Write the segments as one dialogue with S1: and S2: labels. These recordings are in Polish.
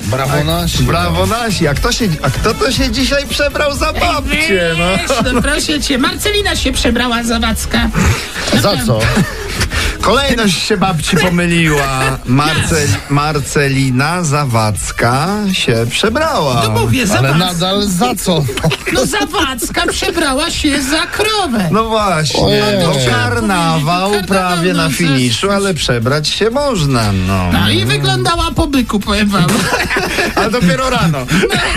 S1: Brawo
S2: Tak.
S1: nasi.
S3: Brawo nasi, a kto, się, a kto to się dzisiaj przebrał za babcię, no?
S2: Weź, no proszę cię, Marcelina się przebrała za Wacka.
S1: Za co?
S3: Kolejność się babci pomyliła. Marcel, Marcelina Zawadzka się przebrała.
S2: No mówię, za
S1: Ale
S2: Wacka.
S1: nadal za co?
S2: No za Wacka przebrała się za krowę.
S3: No właśnie,
S1: Ojej.
S3: to karnawał
S2: Karnawał,
S3: prawie na
S2: no,
S3: finiszu, ale przebrać się można, no.
S2: No i wyglądała po byku, powiem wam.
S3: A dopiero rano.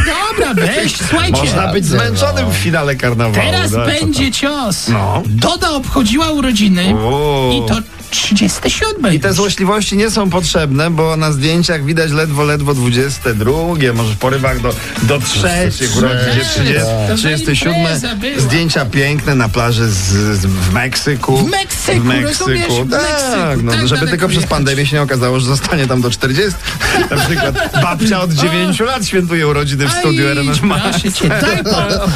S2: No dobra, weź, słuchajcie.
S3: Można być
S1: Radzę,
S3: zmęczonym
S1: no.
S3: w finale karnawału.
S2: Teraz
S3: no, co
S2: będzie cios.
S3: No.
S2: Doda obchodziła urodziny
S3: O.
S2: i to 37.
S3: I te złośliwości nie są potrzebne, bo na zdjęciach widać ledwo, ledwo 22, może w porywach do, do trzecich, urodzin
S2: Cześć,
S3: 30,
S2: to impreza
S3: 37.
S2: była.
S3: Zdjęcia piękne na plaży z, z, w Meksyku.
S2: W Meksyku, rozumiesz? W
S3: Tak,
S2: Meksyku,
S3: no,
S2: tak
S3: żeby
S2: daleko
S3: tylko przez
S2: jechać.
S3: pandemię się nie okazało, że zostanie tam do 40. Na przykład babcia od 9 lat świętuje urodziny w studiu RMF Max.
S2: Proszę cię, daj, pod,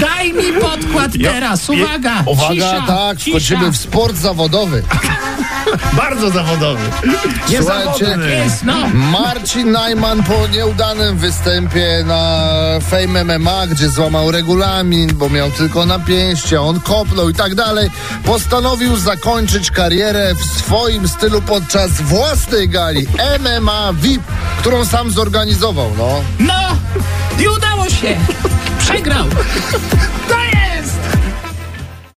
S2: daj mi podkład teraz. Uwaga,
S1: Uwaga,
S2: cisza,
S1: tak,
S2: cisza.
S1: wchodzimy w sport zawodowy.
S3: Bardzo zawodowy.
S1: Słuchajcie,
S3: Niezawodny.
S2: Jest, no.
S1: Marcin Najman po nieudanym występie na Fame MMA, gdzie złamał regulamin, bo miał tylko napięście, on kopnął i tak dalej, postanowił zakończyć karierę w swoim stylu podczas własnej gali MMA VIP, którą sam zorganizował, no.
S2: No, i udało się. Przegrał.